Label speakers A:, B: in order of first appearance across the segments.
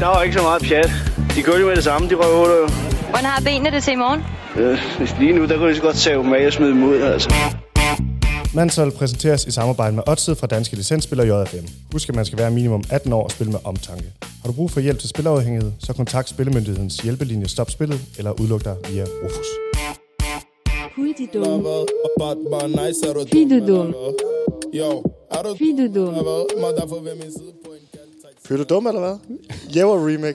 A: Der var ikke så meget pjat. De kørte jo med det samme, de røvhuller jo.
B: Hvordan har benene det til i morgen?
A: Øh, lige nu, der kunne de så godt tage dem af og smide dem ud, altså.
C: Mansol præsenteres i samarbejde med Odset fra Danske Licensspiller JFM. Husk, at man skal være minimum 18 år og spille med omtanke. Har du brug for hjælp til spilafhængighed, så kontakt Spillemyndighedens hjælpelinje Stop Spillet eller udluk dig via Rufus.
D: Fui de dum,
E: Fille de
D: dum. fui de dum.
C: Føler du dum, eller hvad? Jæver remix.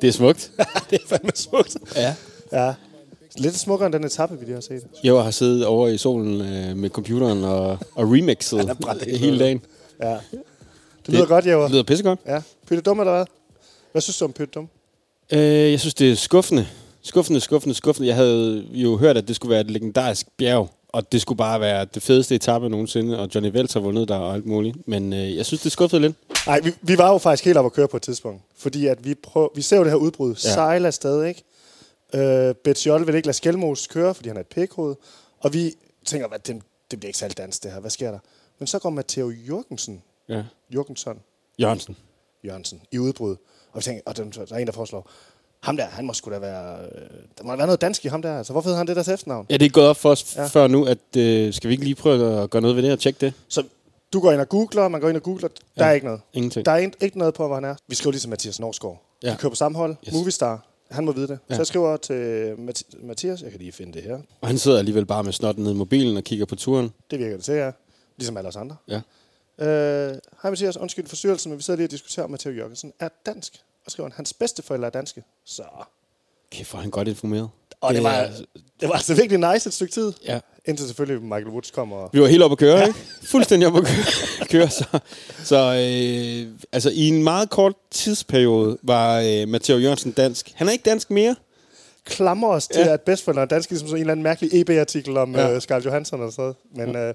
F: Det er smukt.
C: det er fandme smukt.
F: Ja.
C: Ja. Lidt smukkere end den etape, vi lige har set.
F: Jeg har siddet over i solen øh, med computeren og, og remixet hele dagen.
C: Ja. Det lyder det, godt, Jæver.
F: Det lyder pissegodt.
C: Ja. Pytte dum, eller hvad? Hvad synes du om Pytte dum?
F: Øh, jeg synes, det er skuffende. Skuffende, skuffende, skuffende. Jeg havde jo hørt, at det skulle være et legendarisk bjerg, og det skulle bare være det fedeste etape nogensinde, og Johnny Vels har vundet der og alt muligt. Men øh, jeg synes, det skuffede lidt.
C: Nej, vi, vi var jo faktisk helt oppe at køre på et tidspunkt. Fordi at vi, prøv, vi ser jo det her udbrud. Ja.
F: Ja.
C: Sejler stadig, ikke? Øh, Betjol vil ikke lade Skelmos køre, fordi han er et pikhoved. Og vi tænker, hvad, det, det bliver ikke særlig dansk, det her. Hvad sker der? Men så går Matteo Jørgensen,
F: Ja.
C: Jørgensen,
F: Jørgensen.
C: Jørgensen i udbrud. Og vi tænker, og dem- der er en, der foreslår, ham der, han må sgu da være... Øh, der må da være noget dansk i ham der. Altså, hvorfor hedder han det der til efternavn?
F: Ja, det er gået op for os
C: Ja.
F: ja. før nu, at øh, skal vi ikke lige prøve at gøre noget ved det og tjekke det?
C: Så du går ind og googler, man går ind og googler, der
F: Ja.
C: er ikke noget.
F: Ingenting.
C: Der er ikke, ikke noget på, hvor han er. Vi skriver lige til Mathias Norsgaard. Ja.
F: Ja.
C: Vi kører på samme hold. Yes.
F: Yes.
C: Movistar. Han må vide det. Ja.
F: Ja.
C: Så jeg skriver til Mathi- Mathias. Jeg kan lige finde det her.
F: Og han sidder alligevel bare med snotten ned i mobilen og kigger på turen.
C: Det virker det til, ja. Ligesom alle os andre.
F: Ja.
C: Øh, Hej Mathias, undskyld forstyrrelsen, men vi sidder lige og diskuterer, om Matteo Jørgensen er dansk. Og skriver han, hans bedsteforældre er danske. Så.
F: Kæft, hvor er han godt informeret.
C: Og det var, det var altså virkelig nice et stykke tid.
F: Ja.
C: Indtil selvfølgelig Michael Woods kommer. og-
F: Vi var helt oppe at køre, ja. ikke? Fuldstændig oppe at køre. køre så så øh, altså, i en meget kort tidsperiode var øh, Matteo Jørgensen dansk. Han er ikke dansk mere.
C: Klamrer os til, ja.
F: Ja.
C: at bedsteforældre er danske, ligesom sådan en eller anden mærkelig EB-artikel om ja.
F: Ja.
C: øh, Scarlett Johansson og sådan noget. Men øh,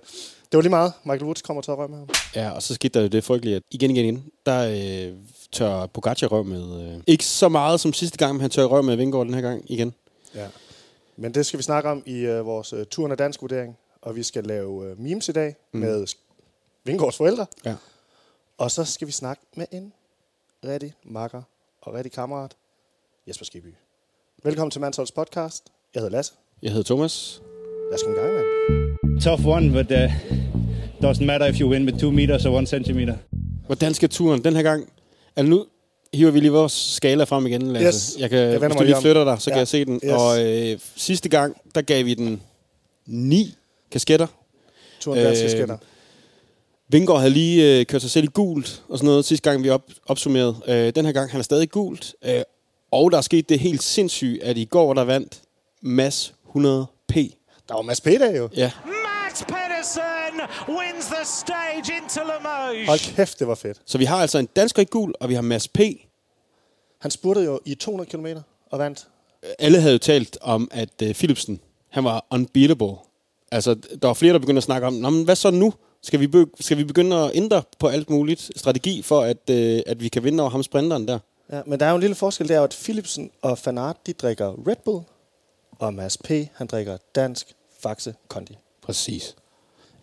C: det var lige meget. Michael Woods kommer til at rømme ham.
F: Ja, og så skete der jo det frygtelige, at igen, igen, igen, der øh, tør Pogacar røv med. Øh, ikke så meget som sidste gang, men han tør røv med Vingård den her gang igen.
C: Ja. Men det skal vi snakke om i øh, vores øh, turen af dansk vurdering, og vi skal lave øh, memes i dag mm. med Vingårds forældre,
F: Ja.
C: og så skal vi snakke med en rigtig makker og rigtig kammerat, Jesper Skiby. Velkommen til Mansholds podcast. Jeg hedder Lasse.
F: Jeg hedder Thomas.
C: Lad os komme i gang, mand.
G: tough one, but uh, doesn't matter if you win with two meters or one centimeter.
F: Hvordan skal turen den her gang? Altså nu hiver vi lige vores skala frem igen, Lasse.
C: Yes.
F: Jeg kan,
C: Jeg vender
F: hvis
C: mig
F: du
C: lige
F: lige
C: om.
F: flytter dig, så
C: Ja.
F: ja. kan jeg se den.
C: Yes.
F: Yes. Og øh, sidste gang, der gav vi den ni kasketter.
C: Turen af dansk,
F: Øh,
C: øh, skænder.
F: Vingård havde lige øh, kørt sig selv i gult og sådan noget, sidste gang vi op, opsummerede. Øh, den her gang, han er stadig i gult. Øh, og der er sket det helt sindssygt, at i går, der vandt Mads 100p.
C: Der var Mads Peter jo.
F: Ja,
H: Max Pedersen wins the stage into Limoges.
C: Hold kæft, det var fedt.
F: så vi har altså en dansker i gul, og vi har Mads P.
C: Han spurgte jo i 200 km og vandt.
F: Alle havde jo talt om, at øh, Philipsen, han var unbeatable. Altså, der var flere, der begyndte at snakke om, Nå, men hvad så nu? Skal vi, be- skal vi begynde at ændre på alt muligt strategi, for at, øh, at vi kan vinde over ham sprinteren der?
C: Ja, men der er jo en lille forskel, der er jo, at Philipsen og Fanart, de drikker Red Bull, og Mads P., han drikker dansk Faxe Kondi.
F: Præcis.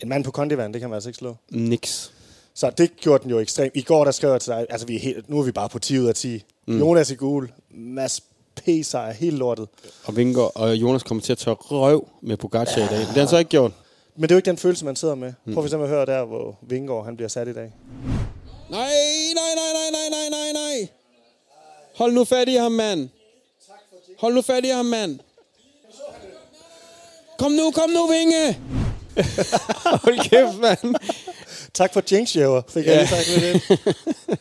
C: En mand på kondivand, det kan man altså ikke slå.
F: Niks.
C: Så det gjorde den jo ekstrem. I går, der skrev jeg til dig, altså vi er helt, nu er vi bare på 10 ud af 10. Mm. Jonas i gul, Mads P. sejr, helt lortet.
F: og Vingegaard og Jonas kommer til at tørre røv med Pogacar ja. i dag. Det har han så ikke gjort.
C: Men det er jo ikke den følelse, man sidder med. Prøv for eksempel at høre der, hvor Vingegaard, han bliver sat i dag.
F: Nej, nej, nej, nej, nej, nej, nej, nej. Hold nu fat i ham, mand. Hold nu fat i ham, mand. Kom nu, kom nu, Vinge. Hold kæft, mand.
C: Tak for Jinx, Jæver. Fik jeg
F: Ja.
C: lige sagt med det.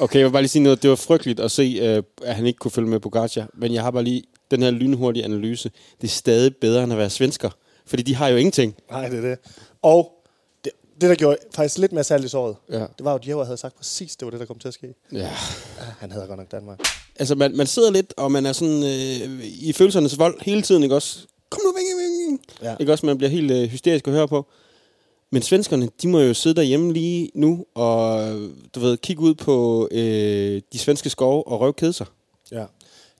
F: Okay, jeg vil bare lige sige noget. Det var frygteligt at se, øh, at han ikke kunne følge med Pogacar. Men jeg har bare lige den her lynhurtige analyse. Det er stadig bedre end at være svensker. Fordi de har jo ingenting.
C: Nej, det er det. Og det, det der gjorde faktisk lidt mere salt i såret,
F: Ja.
C: det var jo, at Jæver havde sagt præcis, det var det, der kom til at ske.
F: Ja.
C: Ah, han havde godt nok Danmark.
F: Altså, man, man sidder lidt, og man er sådan øh, i følelsernes vold hele tiden, ikke også? Kom nu, vinge, vinge.
C: Ja.
F: Ja. Ikke også? Man bliver helt øh, hysterisk at høre på. Men svenskerne, de må jo sidde derhjemme lige nu og, du ved, kigge ud på øh, de svenske skove og røvkede sig.
C: Ja.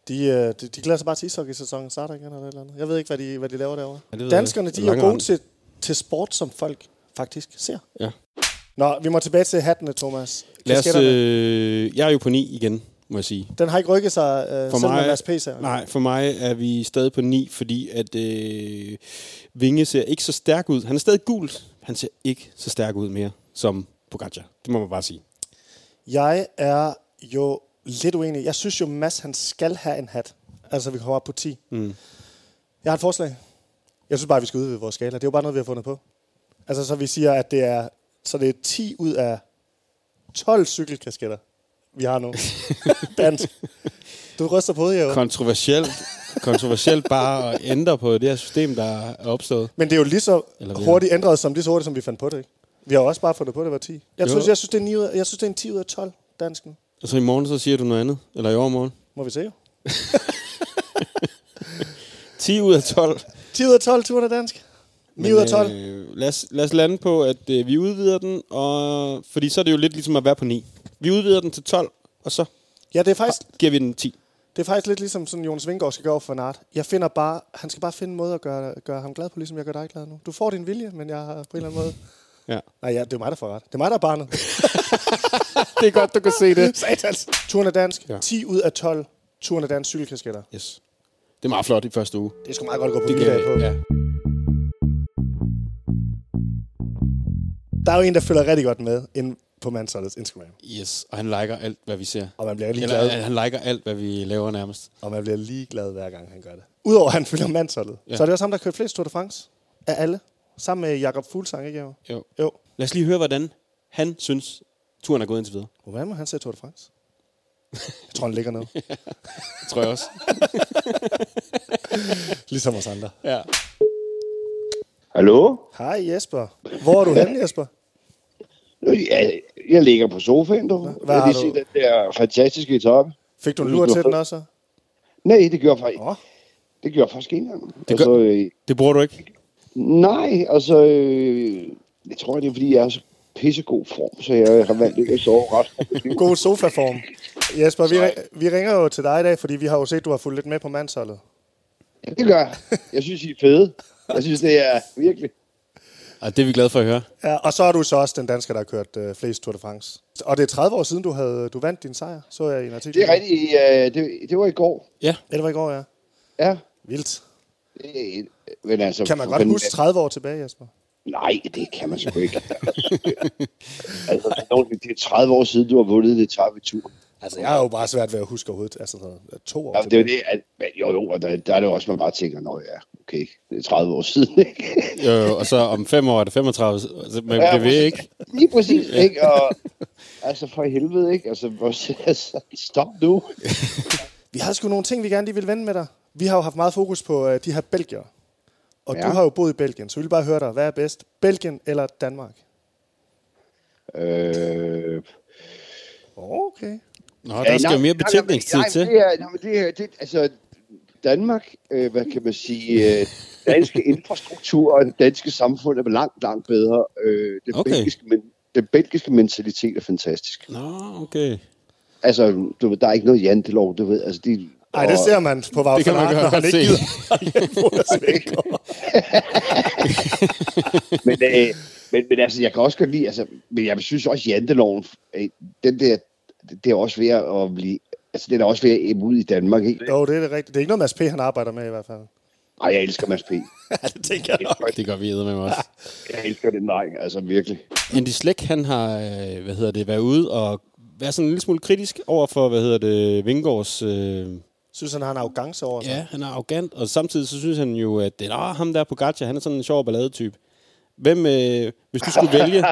C: De, øh, de, de glæder sig bare til ishockey-sæsonen starter igen eller et eller andet. Jeg ved ikke, hvad de, hvad de laver derovre.
F: Ja, det ved
C: Danskerne,
F: jeg
C: de
F: ikke.
C: er jo
F: Lange
C: gode
F: rand.
C: til, til sport, som folk faktisk ser.
F: Ja.
C: Nå, vi må tilbage til hattene, Thomas.
F: Lad os,
C: Kasketterne.
F: øh, jeg er jo på 9 igen. må jeg sige.
C: Den har ikke rykket sig, øh,
F: For
C: selv med Mads P.
F: mig, nej, for mig er vi stadig på 9, fordi at øh, Vinge ser ikke så stærk ud. Han er stadig gul. Han ser ikke så stærk ud mere som Pogacar. Det må man bare sige.
C: Jeg er jo lidt uenig. Jeg synes jo, Mads han skal have en hat. Altså, vi kommer op på 10. Mm. Jeg har et forslag. Jeg synes bare, vi skal udvide vores skala. Det er jo bare noget, vi har fundet på. Altså, så vi siger, at det er, så det er 10 ud af 12 cykelkasketter, vi har nu. Dansk. Du ryster på hovedet, jo.
F: Kontroversielt, kontroversielt bare at ændre på det her system, der er opstået.
C: Men det er jo lige så
F: Eller vi
C: hurtigt ændret, som lige så hurtigt, som vi fandt på det, ikke? Vi har jo også bare fundet på, at det var 10. Jeg
F: Jo.
C: synes, jeg synes, det er, 9 ud af, jeg synes, det er en 10 ud af 12 dansk nu.
F: Og så i morgen, så siger du noget andet. Eller i overmorgen.
C: Må vi se jo.
F: 10 ud af 12.
C: 10 ud af 12 turen er dansk. 9 ud af 12.
F: Øh, lad, os, lad os lande på, at øh, vi udvider den, og, fordi så er det jo lidt ligesom at være på 9. Vi udvider den til 12, og så
C: Ja, det er faktisk,
F: giver vi den 10.
C: det er faktisk lidt ligesom sådan, Jonas Vingård skal gøre for Nart. Jeg finder bare, han skal bare finde en måde at gøre, gøre ham glad på, ligesom jeg gør dig glad nu. Du får din vilje, men jeg har på en eller anden måde...
F: Ja.
C: Nej, ja, det er mig, der får ret. Det er mig, der er barnet.
F: Det er godt, du kan se det.
C: Satans. Turen er dansk. Ja.
F: Ja.
C: 10 ud af 12 turen er dansk cykelkasketter.
F: Yes. Det er meget flot i første uge.
C: Det skal meget godt gå på
F: Det
C: det på.
F: ja.
C: Der er jo en, der følger rigtig godt med inde på Mansholdets Instagram.
F: Yes, og han liker alt, hvad vi ser.
C: Og man bliver
F: Eller,
C: ligeglad,
F: øh, han liker alt, hvad vi laver nærmest.
C: og man bliver ligeglad hver gang han gør det. Udover at han følger Mansholdet. Ja.
F: Ja.
C: Så er det også ham, der har kørt flest Tour de France af alle. Sammen med Jakob Fuglsang, ikke? Jo.
F: Jo.
C: jo.
F: Lad os lige høre, hvordan han synes, turen er gået indtil videre.
C: Hvordan må han se Tour de France? Jeg tror, han ligger ned.
F: Det tror jeg også.
C: ligesom os andre.
F: ja.
I: Hallo?
C: Hej Jesper. Hvor er du henne, Jesper?
I: Jeg, jeg ligger på sofaen, du. Hvad
C: har
I: jeg lige
C: du?
I: se den der fantastiske etape.
C: Fik du en lur til den også? så?
I: Nej, det gjorde jeg faktisk,
C: Nå.
I: det gjorde jeg faktisk ikke engang.
F: Det
I: altså,
F: gør-
I: øh,
F: Det bruger du ikke?
I: nej, altså... Øh, jeg tror, det er, fordi jeg er i så pissegod form, så jeg har valgt ikke at sove resten af mit liv.
C: God sofaform. Jesper, vi, ri- vi ringer jo til dig i dag, fordi vi har jo set, at du har fulgt lidt med på Mansholdet.
I: Det gør jeg. Jeg synes, I er fede. Jeg synes, det er virkelig...
F: Og det er vi glade for at høre.
C: Ja, og så er du så også den dansker, der har kørt øh, flest Tour de France. Og det er 30 år siden, du, havde, du vandt din sejr, så jeg i en artikel.
I: Det er rigtigt. Øh, det, det var i går.
F: Ja,
C: Ja, det var i går, ja.
I: Ja.
C: Vildt.
I: Øh, men altså,
C: Kan man
I: for
C: godt
I: fanden,
C: huske 30 år tilbage, Jesper?
I: Nej, det kan man sgu ikke. altså, der er nogen, det er 30 år siden, du har vundet det tab i tur.
C: Altså, jeg har jo bare svært ved at huske overhovedet. Altså, sådan, to år
I: Ja, det er jo det, at, men jo, jo, og der, der er det jo også, man bare tænker, nå ja, okay, det er 30 år siden, ikke?
F: jo, jo, og så om fem år er det 35. Altså, man
I: Ja,
F: bliver ved,
I: præcis.
F: ikke?
I: Lige præcis, ikke? Og, altså, for helvede, ikke? Altså, hvor- altså stop nu.
C: Vi havde sgu nogle ting, vi gerne lige ville vende med dig. Vi har jo haft meget fokus på øh, de her belgier. Og ja.
I: Ja.
C: du har jo boet i Belgien, så vi vil bare høre dig. Hvad er bedst, Belgien eller Danmark?
I: Øh,
C: Okay.
F: Nå, der skal jo mere betænkningstid
I: nej,
F: til.
I: Nej, det er, nej, men det er, det, altså, Danmark, øh, hvad kan man sige, øh, danske infrastruktur og det danske samfund er langt, langt bedre. Øh, det,
F: Okay.
I: belgiske, men, den belgiske mentalitet er fantastisk.
F: Nå, okay.
I: Altså, du, ved, der er ikke noget jantelov, du ved. Altså, de,
C: Ej, det ser man på Vav
F: Det kan man
C: Fanart, når han
F: godt
C: ikke
F: se.
C: gider. Jonas Vingegaard.
I: men, øh, men, men altså, jeg kan også godt lide, altså, men jeg synes også, janteloven, øh, den der, det er også ved at blive, altså, den er også ved at emme ud i Danmark, ikke?
C: jo, det er det rigtigt. Det er ikke noget, Mads P. han arbejder med i hvert fald.
I: Ej, jeg elsker Mads P.
C: Ja, det tænker jeg nok.
F: Det gør vi med mig også.
I: Jeg elsker den dreng, altså virkelig.
F: Andy Slæk, han har, øh, hvad hedder det, været ude og været sådan en lille smule kritisk over for, hvad hedder det, Vingårds... Øh,
C: Synes han har en arrogance over sig?
F: ja, han er arrogant, og samtidig så synes han jo, at det er ham der på Gacha, han er sådan en sjov balladetype. Hvem, øh, hvis du skulle vælge,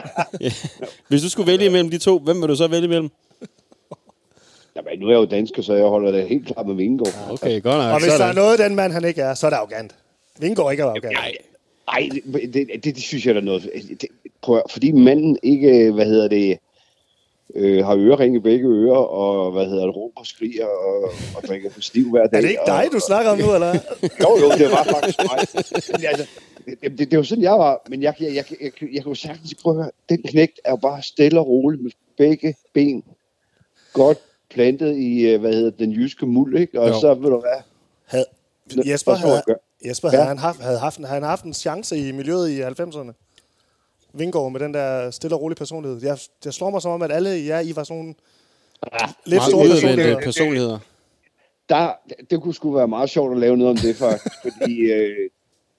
F: hvis du skulle vælge mellem de to, hvem vil du så vælge mellem?
I: Jamen, nu er jeg jo dansker, så jeg holder det helt klart med
C: Ah,
I: Vingegaard.
F: Okay, godt nok.
C: Og hvis der er
F: Sådan.
C: noget, den mand han ikke er, så er det arrogant. Vingård ikke er arrogant.
I: Nej, nej Altså, det, det, det, det synes jeg der er noget. Det, prøv, at- fordi manden ikke, hvad hedder det, øh, har øreringe i begge ører, og hvad hedder det, råber og skriger, og, og drikker på stiv hver dag.
C: Er det ikke dig,
I: og,
C: du snakker om nu, eller?
I: Jo, jo, det var faktisk mig. Men altså, det, det, det, var sådan, jeg var. Men jeg, jeg, jeg, jeg, jeg, jeg kan jo sagtens prøve at høre, den knægt er jo bare stille og roligt med begge ben. Godt plantet i, øh, hvad hedder det, den jyske muld, ikke? Og
F: Jo.
I: jo. så, ved du hvad,
C: Havde,
I: Nå,
C: Jesper,
I: hvad skal man
C: havde,
I: gøre?
C: Jesper havde,
I: Ja.
C: han haft, havde, haft, havde han haft en chance i miljøet i 90'erne? Vingård med den der stille og rolige personlighed. Jeg, jeg slår mig som om, at alle jer, I var sådan nogle Lidt
F: Meget
C: store
F: udadvendte
C: personligheder.
F: personligheder.
I: der, det kunne sgu være meget sjovt at lave noget om det, faktisk, fordi øh,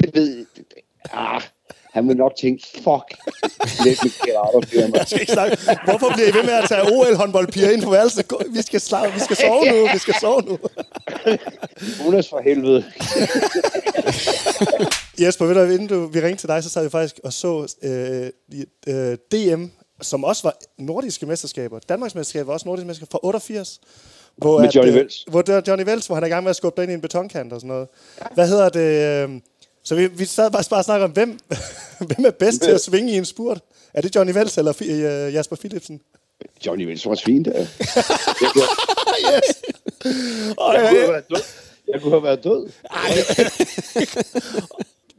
I: det ved det, det, ah, han vil nok tænke, fuck, lidt med Gerardo firma.
C: Jeg skal ikke snakke. Hvorfor bliver I ved med at tage OL-håndboldpiger ind på værelset? Gå- Vi skal, slappe, vi skal sove nu, vi skal sove nu.
I: Jonas for helvede.
C: Jesper, ved du, hvad, inden du, vi ringte til dig, så sad vi faktisk og så øh, i- øh, DM, som også var nordiske mesterskaber. Danmarks mesterskaber var også nordiske mesterskaber fra 88. Hvor
I: Med Johnny
C: øh,
I: Wells.
C: Hvor der, Johnny Wells, hvor han er i gang med at skubbe dig ind i en betonkant og sådan noget. Hvad hedder det? øh, Så vi, vi sad faktisk bare og snakkede om, hvem, hvem er bedst til at svinge i en spurt? Er det Johnny Wells eller Fi- øh, Jasper Philipsen?
I: Johnny Vils var fint. Jeg, jeg, kunne,
C: Og,
I: jeg, kunne
C: øh,
I: have været død. jeg kunne have været død.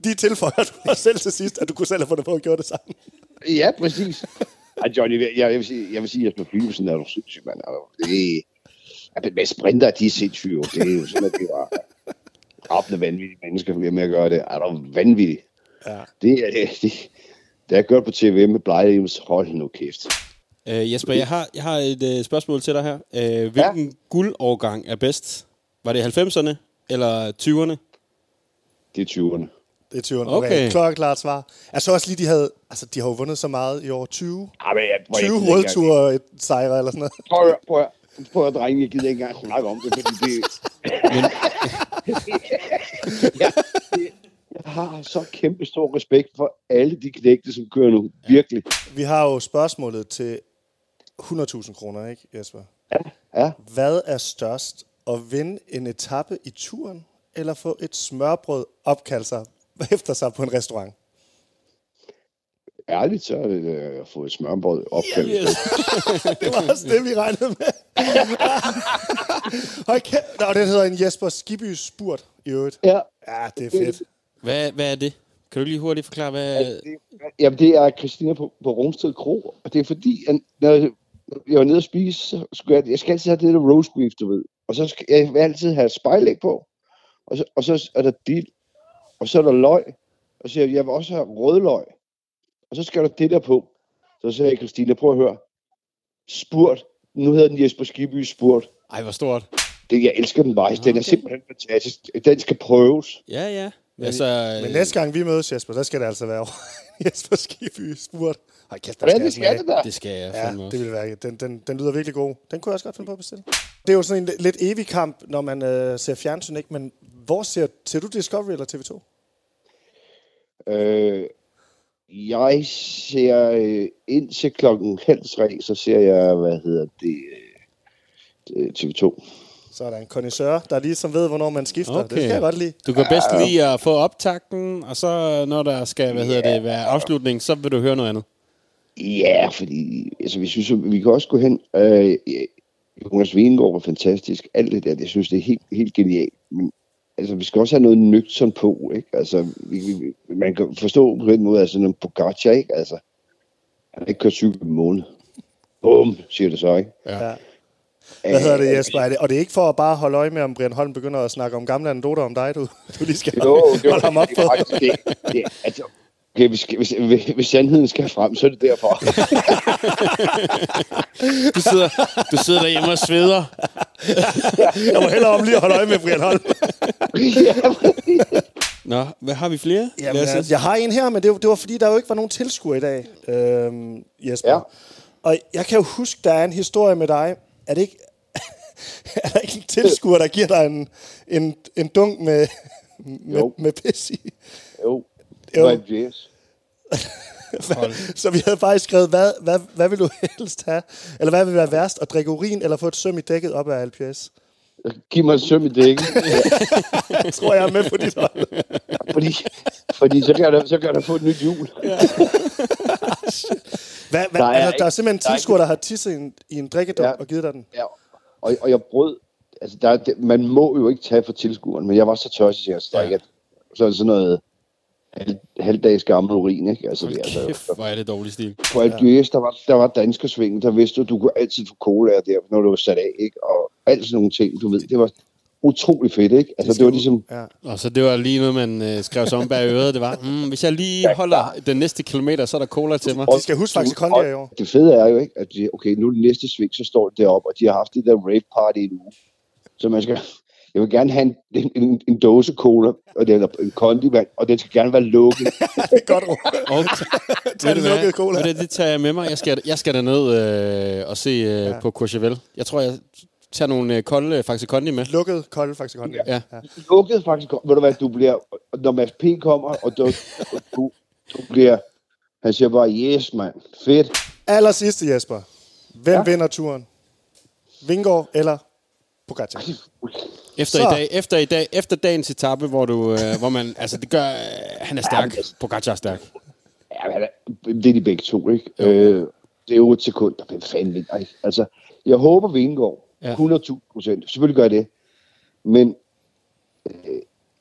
C: de tilføjer du også selv til sidst, at du kunne selv have fundet på at gøre det samme.
I: Ja, præcis. Ej, Johnny, jeg, jeg, vil sige, jeg vil sige, at Jesper Philipsen er jo sindssyg, mand. Er jo- Det er, at med sprinter, de er sindssyge. jo. Det er jo sådan, at det var rappende vanvittige mennesker, der bliver med at gøre det. Er der vanvittigt. Ja. Det er det. det det har jeg gjort på TV med Blejehjemmes. Hold nu kæft.
F: Øh, Jesper, jeg har, jeg har et øh, spørgsmål til dig her. Øh, hvilken ja. guldårgang er bedst? Var det 90'erne eller 20'erne?
I: Det er 20'erne.
C: Det er 20
F: Okay.
C: okay. Klart, klart svar. Altså også lige, de havde, altså de har jo vundet så meget i år 20.
I: Ej, men jeg, prøv,
C: 20
I: jeg gider
C: World
I: ikke engang-
C: Tour sejre eller sådan noget.
I: Prøv at høre, prøv at høre. Prøv at høre, drenge, jeg gider ikke engang snakke om det, fordi det... ja, det jeg har så kæmpe stor respekt for alle de knægte, som kører nu. Virkelig.
C: Vi har jo spørgsmålet til 100.000 kroner, ikke Jesper?
I: Ja.
C: Hvad er størst? At vinde en etape i turen, eller få et smørbrød opkaldt sig efter sig på en restaurant?
I: ærligt, så er det øh, at få et smørbrød opkaldt.
F: yes.
C: Det var også det, vi regnede med. Hold kæft. Nå, den hedder en Jesper Skibby Spurt i øvrigt.
I: Ja,
C: Ja, det er fedt.
F: Hvad, hvad er det? Kan du lige hurtigt forklare, hvad...
I: det, jamen, det er Christina på, på Rungsted Kro, og det er fordi, at når jeg- jeg var nede og spise, så skulle jeg, jeg skal altid have det der roast beef, du ved. Og så skal jeg vil altid have spejlæg på, og så, og så er der dild, og så er der løg, og så siger jeg, jeg vil også have rødløg. Og så skal der det der på. Så sagde jeg, Christina, prøv at høre. Spurt. Nu hedder den Jesper Skibby Spurt.
F: Ej, hvor stort.
I: Det, jeg elsker den vej. Den er
C: Ah.
I: simpelthen fantastisk. Den skal prøves.
F: Ja, ja. Altså,
C: Men
F: øh,
C: næste gang vi mødes, Jesper, så skal det altså være over Jesper Skibby Spurt. Hold kæft, der
I: Hvordan
C: skal
I: det
C: jeg smage.
I: skal det der?
F: det skal jeg
C: Ja,
F: fandme også.
C: det ville være. Den, den, den lyder virkelig god. Den kunne jeg også godt finde på at bestille. Det er jo sådan en lidt evig kamp, når man øh, ser fjernsyn, ikke? Men hvor ser, ser du Discovery eller TV2?
I: Øh, jeg ser øh, indtil klokken halv tre, så ser jeg, hvad hedder det, øh, TV2.
C: Så er der en connoisseur, der lige som ved, hvornår man skifter. Okay. Det
F: Okay.
C: skal jeg godt lide.
F: Du kan bedst lige at få optakten, og så når der skal, hvad hedder det, være afslutning, så vil du høre noget andet.
I: Ja, fordi altså, vi synes, jo, vi kan også gå hen. Øh, ja, Jonas Vingegaard var fantastisk. Alt det der, jeg synes, det er helt, helt genialt. Men, altså, vi skal også have noget nøgtern på, ikke? Altså, vi, vi, man kan forstå på den måde, altså, når Pogacar, ikke? Altså, han har ikke kørt cykel på en måned. Bum, siger det så, ikke?
C: Ja. Hvad hedder det, Jesper? Er det, og det er ikke for at bare holde øje med, om Brian Holm begynder at snakke om gamle anekdoter om dig, du, du lige skal
I: Jo, det var
C: holde ham op på.
I: faktisk det. det altså, okay, hvis, hvis, hvis, hvis sandheden skal frem, så er det derfor.
F: Du sidder, du sidder derhjemme og sveder.
C: Jeg må hellere om lige at holde øje med Brian Holm.
F: Nå, hvad har vi flere?
C: Jamen, altså,
F: Lad os-
C: jeg, jeg har en her, men det, var- det var fordi, der jo ikke var nogen tilskuer i dag, øhm, Jesper. Ja.
I: Ja.
C: Og jeg kan jo huske, der er en historie med dig. Er det ikke... er der ikke en tilskuer, der giver dig en, en, en dunk med, med,
I: Jo.
C: med pis i?
I: jo,
C: Jo.
I: det var et jazz.
C: Så vi havde faktisk skrevet, hvad, hvad, hvad vil du helst have? Eller hvad vil være værst? At drikke urin eller få et søm i dækket op af LPS?
I: Giv mig en søm i dækken.
C: Jeg tror, jeg er med på dit hold.
I: fordi, fordi så kan, der, så kan der få et nyt hjul.
C: Hvad, hvad,
I: Der
C: der,
I: er
C: er altså,
I: ikke-
C: der er simpelthen en
I: der er ikke-
C: tilskuer, der har tisset i en, i en drikkedunk ja.
I: Ja.
C: og givet dig den.
I: Ja. Og, og jeg brød... Altså, der, er det, man må jo ikke tage for tilskueren, men jeg var så tørstig, at jeg strækker. Så er det sådan noget halv, halvdags gammel urin, ikke? Altså, det, er altså,
F: Kæft, hvor er det dårlig stil.
I: på Algiers, der var, der var danskersvingen, der vidste du, du kunne altid få cola der, når du var sat af, ikke? Og alt sådan nogle ting, du ved. Det var, utrolig fedt, ikke? Altså, det, det var ligesom...
F: Ja. Og så det var lige noget, man øh, skrev sig om bag øret. Det var, mm, hvis jeg lige holder den næste kilometer, så er der cola til mig.
C: De skal huske faktisk Kondi i år.
I: Det fede er jo, ikke, at de, okay, nu er det næste sving, så står det deroppe, og de har haft det der rave party i en uge. Så man skal... Jeg vil gerne have en, en, en, en dåse cola, og den, en kondi, mand, og den skal gerne være lukket.
C: det er godt, Rune.
F: Okay.
C: Tag den lukkede cola.
F: Det, det tager jeg med mig. Jeg skal, jeg skal derned øh, og se øh, ja. på Courchevel. Jeg tror, jeg tager nogle øh, kolde øh, Faxe Kondi med.
C: Lukket, kolde faktisk Kondi.
F: Ja.
I: ja. Lukket faktisk, ved du hvad, du bliver, når Mads P. kommer, og du, du, du bliver, han siger bare, yes mand, fedt.
C: Aller sidste, Jesper. Hvem ja. vinder turen? Vingård eller Pogacar?
F: Efter
C: Så.
F: i, dag, efter i dag, efter dagens etape, hvor du, øh, hvor man, altså det gør, øh, han er stærk. Pogacar er stærk.
I: Ja, men han er- det er de begge to, ikke? Øh, det er jo et sekund, der bliver fanden vinder, ikke? Altså, jeg håber, vi indgår
F: Ja.
I: 100.000 procent. Selvfølgelig gør jeg det. Men øh,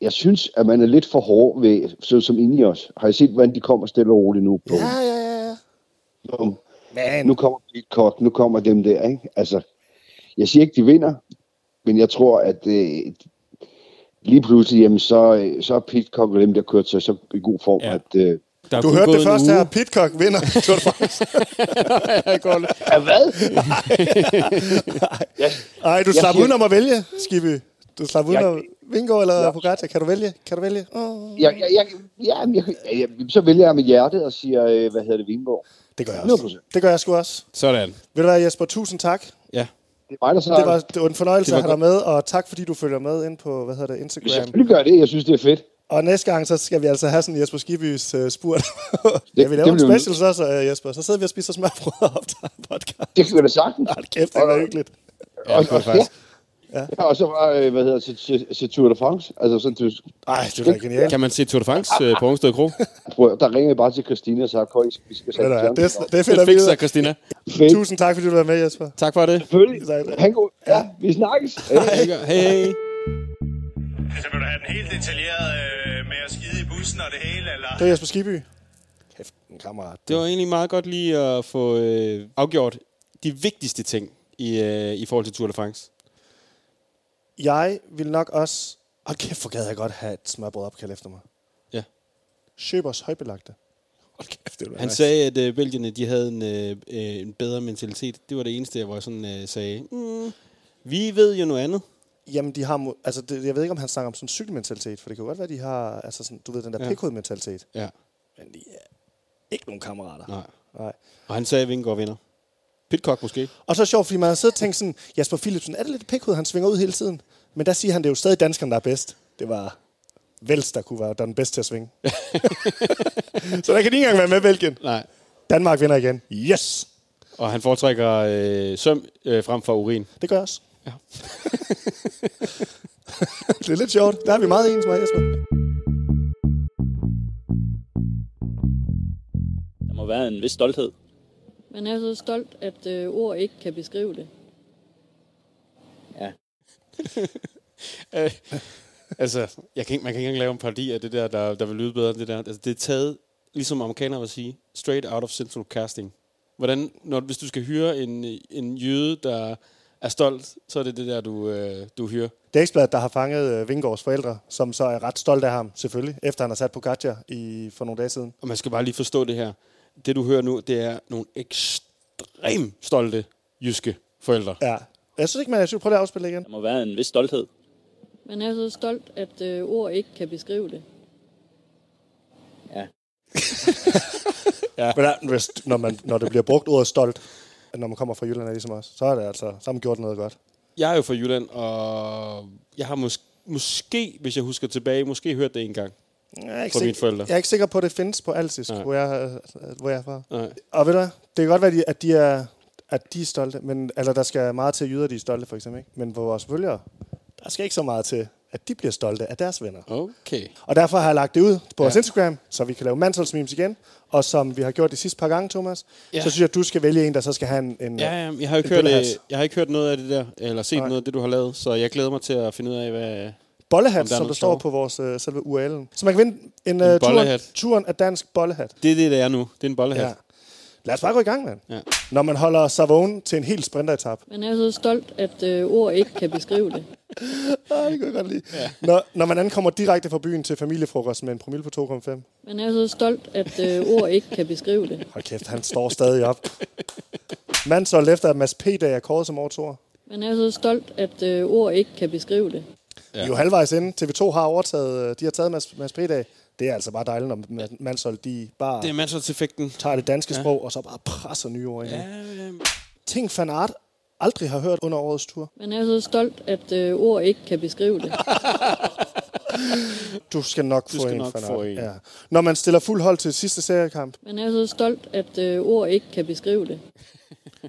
I: jeg synes, at man er lidt for hård ved, så, som inde i os. Har I set, hvordan de kommer stille og roligt nu? På,
C: Ja, ja, ja, ja.
I: på, nu kommer Pitcock, nu kommer dem der, ikke? Altså, jeg siger ikke, de vinder, men jeg tror, at øh, lige pludselig, jamen, så, øh, så er Pitcock og dem, der kørt sig så i god form,
F: Ja.
I: ja. at... Øh,
F: Der er
C: Du
F: kun
C: hørte
F: gået
C: det
F: en
C: først
F: uge.
C: her. Pitcock vinder. Tour de France.
F: Jeg går lidt-
I: ja, hvad?
C: Ej, du
I: Jeg
C: slap
I: siger-
C: udenom at vælge, Skibby. Du slap udenom. Vingård eller
I: Ja.
C: Pogacar? Kan du vælge? Kan du vælge? Oh.
I: jeg, jeg, jeg, ja, men jeg, jeg, jeg, så vælger jeg med hjertet og siger, øh, hvad hedder det, Vingård.
C: Det gør jeg også.
I: 100%.
C: Det gør jeg sgu også.
F: Sådan.
C: Ved du hvad, Jesper? Tusind tak.
F: Ja.
I: Det er mig, der så
C: Det var, det var en fornøjelse
F: Det var
C: at have dig med, og tak fordi du følger med ind på, hvad hedder det,
I: Hvis jeg
C: Instagram.
I: selvfølgelig gør det, jeg synes, det er fedt.
C: Og næste gang, så skal vi altså have sådan en Jesper Skibys uh, spurt. ja, vi
I: det
C: laver en
I: bliver vi
C: special så, så uh, Jesper. Så sidder vi og spiser smørbrød og optager en podcast.
I: Det kan jeg da sagtens.
C: Hold kæft, det var hyggeligt.
F: Ja, det kunne jeg faktisk.
I: Ja, og så var, øh, hvad hedder det, til- til- til Tour de France. Altså, sådan, du,
C: Ej, det var genialt.
F: Kan man se Tour de France øh, på Rungsted Kro?
I: prøv, der ringede jeg bare til Christina og sagde, at vi skal
C: Ved
I: sætte
C: du hvad, Det,
I: sammen."
C: det finder
F: Det
C: vi ud
F: fikser
C: af.
F: Christina.
I: Fedt.
C: Tusind tak, fordi du var med, Jesper.
F: Tak for det.
I: Selvfølgelig.
C: Tak.
I: Han går. Ja, vi snakkes.
F: Hej, hej.
H: Altså, vil du have den helt detaljeret øh, med at skide i bussen og det hele, eller?
C: Det er Jesper Skiby. Kæft, en kammerat.
F: Det var egentlig meget godt lige at få øh, afgjort de vigtigste ting i, øh, i forhold til Tour de France.
C: Jeg vil nok også... Hold kæft, hvor gad jeg godt have et smørbrød opkald efter mig.
F: Ja.
C: Sjøbers højbelagte. Hold kæft, det var
F: Han
C: nice.
F: sagde, at øh, Belgierne de havde en, øh, øh, en bedre mentalitet. Det var det eneste, hvor jeg sådan, øh, sagde, mm, vi ved jo noget andet.
C: Jamen, de har... mo- Altså, det, jeg ved ikke, om han snakker om sådan en cykelmentalitet, for det kan jo godt være, de har... Altså, sådan, du ved, den der
F: Ja.
C: ja. pikhoved-mentalitet.
F: Ja.
C: Men de er ikke nogen kammerater.
F: Nej.
C: Nej.
F: Og han sagde, at Vingegaard vinder. Pitcock måske.
C: Og så er det sjovt, fordi man har siddet og tænkt sådan, Jasper Philipsen, er det lidt pikhoved, han svinger ud hele tiden? Men der siger han, det er jo stadig danskerne, der er bedst. Det var Vels, der kunne være der er den bedste til at svinge. så der kan de ikke engang være med, Belgien.
F: Nej.
C: Danmark vinder igen. Yes!
F: Og han foretrækker øh, søm øh, frem for urin.
C: Det gør jeg også. Ja. det er lidt sjovt. Der er vi meget ens med, Jesper.
J: Der må være en vis stolthed.
D: Man er så stolt, at øh, ord ikke kan beskrive det.
F: Altså, jeg kan ikke, man kan ikke engang lave en parodi af det der, der, der vil lyde bedre end det der. Altså, det er taget, ligesom amerikanere vil sige, straight out of central casting. Hvordan, når, hvis du skal hyre en, en jøde, der er stolt, så er det det der, du, øh, du hyrer.
C: Det er Ekstrabladet, der har fanget øh, Vingårds forældre, som så er ret stolt af ham, selvfølgelig, efter han har sat på Katja i for nogle dage siden.
F: Og man skal bare lige forstå det her. Det, du hører nu, det er nogle ekstremt stolte jyske forældre.
C: Ja. Jeg synes ikke, man er syg. Prøv lige at afspille det igen.
J: Der må være en vis stolthed.
D: Man er så stolt, at øh, ord ikke kan beskrive det.
C: Men der, hvis, når, man, når det bliver brugt ordet stolt, når man kommer fra Jylland, er ligesom os, så er det altså, så har man gjort noget godt.
F: Jeg er jo fra Jylland, og jeg har mås- måske, hvis jeg husker tilbage, måske hørt det en gang.
C: Jeg er, ikke
F: Fra mine forældre.
C: jeg er ikke sikker på, at det findes på alsisk,
F: Nej.
C: hvor jeg, øh, hvor jeg er fra.
F: Nej.
C: Og ved du hvad? Det kan godt være, at de- at de er, at de er stolte, men altså, der skal meget til at jyder, de er stolte, for eksempel. Ikke? Men for vores følgere, der skal ikke så meget til, at de bliver stolte af deres venner.
F: Okay.
C: Og derfor har jeg lagt det ud på vores Instagram, så vi kan lave mandsholdsmemes igen. Og som vi har gjort de sidste par gange, Thomas,
F: Ja.
C: så synes jeg, at du skal vælge en, der så skal have en... en
F: Ja, ja, jeg har, jo
C: en
F: ikke hørt, øh,
C: bøllehats.
F: jeg har ikke hørt noget af det der, eller set
C: Nej.
F: Nej. noget af det, du har lavet, så jeg glæder mig til at finde ud af, hvad...
C: Bollehat,
F: Om der er
C: som
F: noget
C: der står
F: sjovt.
C: på vores øh, selve URL'en. Så man kan vinde en, øh, turen,
F: bollehat.
C: turen af dansk bollehat.
F: Det er det, det er nu. Det er en bollehat.
C: Ja.
F: Ja.
C: Lad os bare gå i gang, mand.
F: Ja.
C: Når man holder sig vågen til en helt sprinteretap.
D: Man er så stolt, at øh, ord ikke kan beskrive det.
C: ah, det kan jeg godt lide. Ja. Når, når man ankommer direkte fra byen til familiefrokost med en promille på 2,5.
D: Man er så stolt, at øh, ord ikke kan beskrive det.
C: Hold kæft, han står stadig op. Mand så efter, at Mads P. dag er kåret som årets ord.
D: Man er så stolt, at øh, ord ikke kan beskrive det.
C: Ja. Vi er jo halvvejs inde. TV2 har overtaget, øh, de har taget Mads, Mads P. dag. Det er altså bare dejligt, når Ma- Mansol, de bare
F: Det er mandsholdseffekten.
C: tager det danske ja. sprog, og så bare presser nye ord ind. Ja.
F: Ja,
C: Ting fan art aldrig har hørt under årets tur.
D: Man er så stolt, at øh, ord ikke kan beskrive det.
C: Du skal nok
D: Du
C: få
D: skal
C: en.
D: nok
C: fan
D: få
C: art.
D: en.
C: Ja. Når man stiller fuld hold til sidste seriekamp.
D: Man er så stolt, at øh, ord ikke kan beskrive det.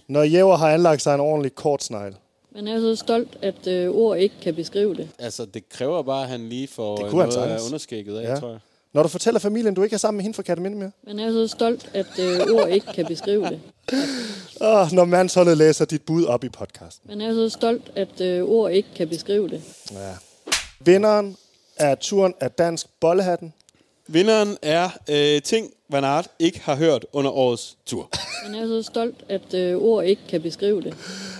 C: Når Jæver har anlagt sig en ordentlig kort snegl.
D: Man er så stolt, at øh, ord ikke kan beskrive det.
F: Altså, det kræver bare, at han lige får
C: Det
F: det
C: kunne han
F: noget af
C: sagtens.
F: underskægget af,
C: Ja.
F: ja. tror jeg.
C: Når du fortæller familien, du ikke er sammen med hende fra Kataminde mere.
D: Man er så stolt, at øh, ord ikke kan beskrive det.
C: Og når mandsholdet læser dit bud op i podcast.
D: Man er så stolt, at øh, ord ikke kan beskrive det.
C: Ja. Vinderen af turen af Dansk Bollehatten.
F: Vinderen er øh, ting, Van Aert ikke har hørt under årets tur.
D: Man er så stolt, at øh, ord ikke kan beskrive det.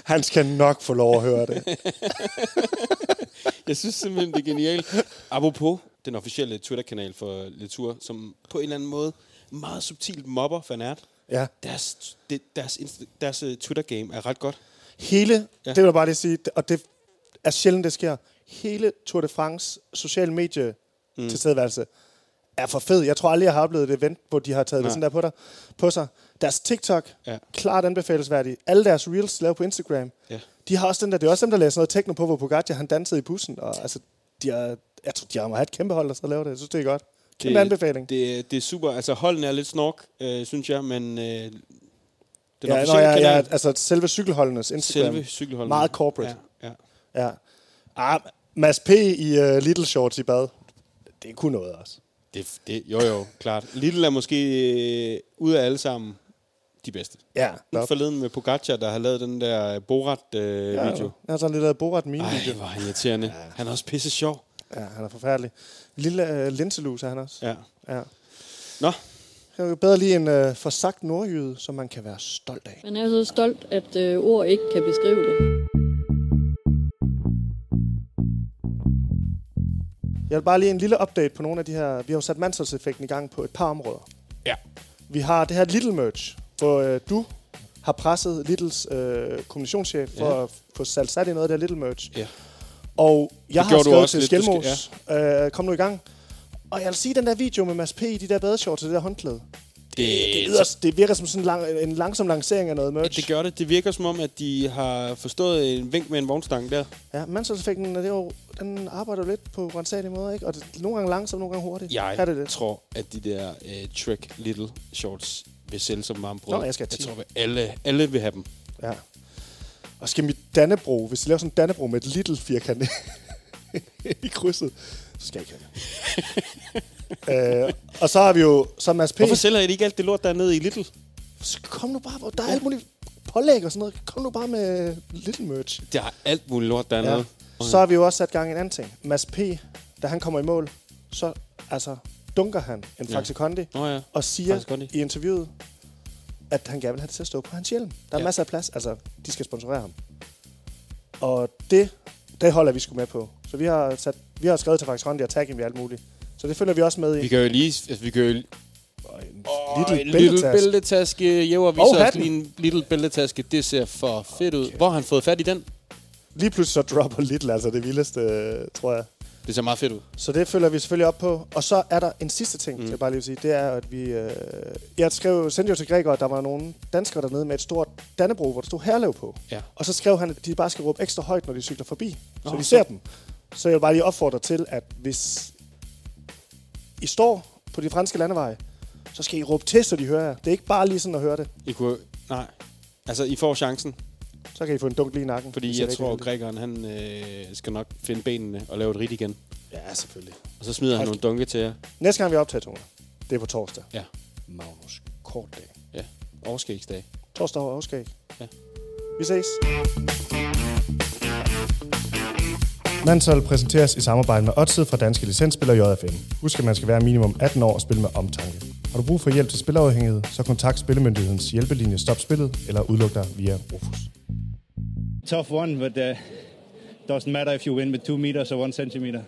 C: Han skal nok få lov at høre det.
F: Jeg synes simpelthen, det er genialt. Apropos den officielle Twitter-kanal for Letour, som på en eller anden måde meget subtilt mobber Van Aert.
C: Ja.
F: Deres, det, deres, inst- deres øh, Twitter-game er ret godt.
C: Hele, ja.
F: Ja.
C: det vil jeg bare lige sige, og det er sjældent, det sker. Hele Tour de France social medie mm. tilstedeværelse er for fed. Jeg tror aldrig, jeg har oplevet det event, hvor de har taget Nej.
F: Nej.
C: det sådan der på, dig, på sig. Deres TikTok, ja.
F: Ja.
C: klart anbefalesværdig. Alle deres reels lavet på Instagram.
F: Ja.
C: De har også den der, det er også dem, der læser noget techno på, hvor Pogacar han dansede i bussen. Og, altså, de har, jeg tror, de har må have et kæmpe hold, der så laver det. Jeg synes, det er godt. Kæmpe det, anbefaling.
F: Det, det er super. Altså, holdene er lidt snork, øh, synes jeg, men øh, den
C: Den ja, nå,
F: officielle
C: ja, ja,
F: kanal,
C: altså selve cykelholdenes Instagram.
F: selve cykelholdene.
C: Meget corporate.
F: Ja, ja.
C: Ja. Ah, Mads P. i uh, Little Shorts i bad. Det kunne noget også.
F: Det, det, jo, jo, klart. Little er måske øh, ud af alle sammen de bedste.
C: Ja. Nå.
F: Forleden med Pogacar, der har lavet den der Borat-video. Øh,
C: Ja,
F: video.
C: Jeg har sådan lidt af Borat meme
F: Ej,
C: video.
F: hvor er han irriterende. Ja. Han er også pisse sjov.
C: Ja, han er forfærdelig. Lille uh, linselus er han også.
F: Ja.
C: Ja.
F: Nå,
C: Jeg vil bedre lige en uh, forsagt nordjyde, som man kan være stolt af.
D: Man er så stolt, at øh, ord ikke kan beskrive det.
C: Jeg vil bare lige en lille update på nogle af de her... Vi har jo sat mandsholdseffekten i gang på et par områder.
F: Ja.
C: Vi har det her Little Merch, hvor øh, du har presset Littles øh, kommunikationschef for
F: Ja.
C: at få sat sat i noget af det her Little Merch.
F: Ja.
C: Og jeg har
F: gjorde du
C: skrevet til
F: også lidt, du
C: Skelmos, ja. øh, kom nu i gang. Og jeg vil sige, den der video med Mads P. i de der badeshorts og det der håndklæde, det,
F: det,
C: lyder, det virker som sådan en, lang, en langsom lancering af noget merch.
F: det gør det. Det virker som om, at de har forstået en vink med en vognstang der.
C: Ja, mandsholdseffekten, det er jo, den arbejder jo lidt på rensagelige måder, ikke? Og det, nogle gange langsomt, nogle gange hurtigt.
F: Jeg
C: Kan det det?
F: tror, at de der uh, Trick Little Shorts vil sælge som varme brød.
C: Nå, jeg skal have
F: jeg
C: 10.
F: tror, at alle, alle vil have dem.
C: Ja. Og skal mit Dannebro, hvis jeg laver sådan en Dannebro med et little firkant i krydset, så skal jeg ikke have det. øh, og så har vi jo, så er Mads P.
F: Hvorfor sælger de ikke alt det lort, der er nede i Little?
C: Kom nu bare, hvor der er alt muligt pålæg og sådan noget. Kom nu bare med little merch.
F: Der er alt muligt lort dernede.
C: Ja. Så har vi jo også sat gang i en anden ting. Mads P., da han kommer i mål, så altså, dunker han en
F: Ja.
C: Faxe Kondi
F: Nå ja.
C: og siger
F: Faxe Kondi.
C: i interviewet, at han gerne vil have det til at stå på hans hjelm. Der er ja.
F: Ja.
C: masser af plads. Altså, de skal sponsorere ham. Og det, det holder vi sgu med på. Så vi har, sat, vi har skrevet til Faxe Kondi og tagget ham i alt muligt. Så det følger vi også med i.
F: Vi kan jo lige... Altså, vi kan jo
C: Åh,
F: Little,
C: en
F: little bæltetaske. bæltetaske. Jæver viser os
C: hatten.
F: lige en little bæltetaske. Det ser for fedt ud. Hvor har han fået fat i den?
C: Lige pludselig så dropper Little, altså det vildeste, øh, tror jeg.
F: Det ser meget fedt ud.
C: Så det følger vi selvfølgelig op på. Og så er der en sidste ting, mm. jeg bare lige vil sige. Det er, at vi... Øh, jeg skrev, sendte jo til Gregor, at der var nogle danskere dernede med et stort Dannebro, hvor der stod herlev på.
F: Ja.
C: Og så skrev han, at de bare skal råbe ekstra højt, når de cykler forbi, så
F: Nå,
C: vi ser
F: fedt.
C: dem. Så jeg vil bare lige opfordre til, at hvis I står på de franske landeveje, så skal I råbe til, så de hører jer. Det er ikke bare lige sådan at høre det.
F: I kunne... Nej. Altså, I får chancen.
C: Så kan I få en dunk lige i nakken. hvis
F: Fordi
C: I
F: jeg
C: rigtig
F: tror, at
C: vil det.
F: grækeren, han øh, skal nok finde benene og lave et rit igen.
C: Ja, selvfølgelig.
F: Og så smider han nogle dunke til jer.
C: Næste gang vi optager, Tone, det er på torsdag.
F: Ja.
C: Magnus Kortdag.
F: Ja. Overskægsdag.
C: Torsdag og afskæg.
F: Ja.
C: Vi ses.
K: Mansol præsenteres i samarbejde med Odset fra Danske Licensspiller JFM. Husk, at man skal være minimum 18 år og spille med omtanke.
C: Har du brug for hjælp til spilafhængighed, så kontakt Spillemyndighedens hjælpelinje Stop Spillet eller udluk dig via Rufus.
H: Tough one, but uh, doesn't matter if you win with two meters or one centimeter.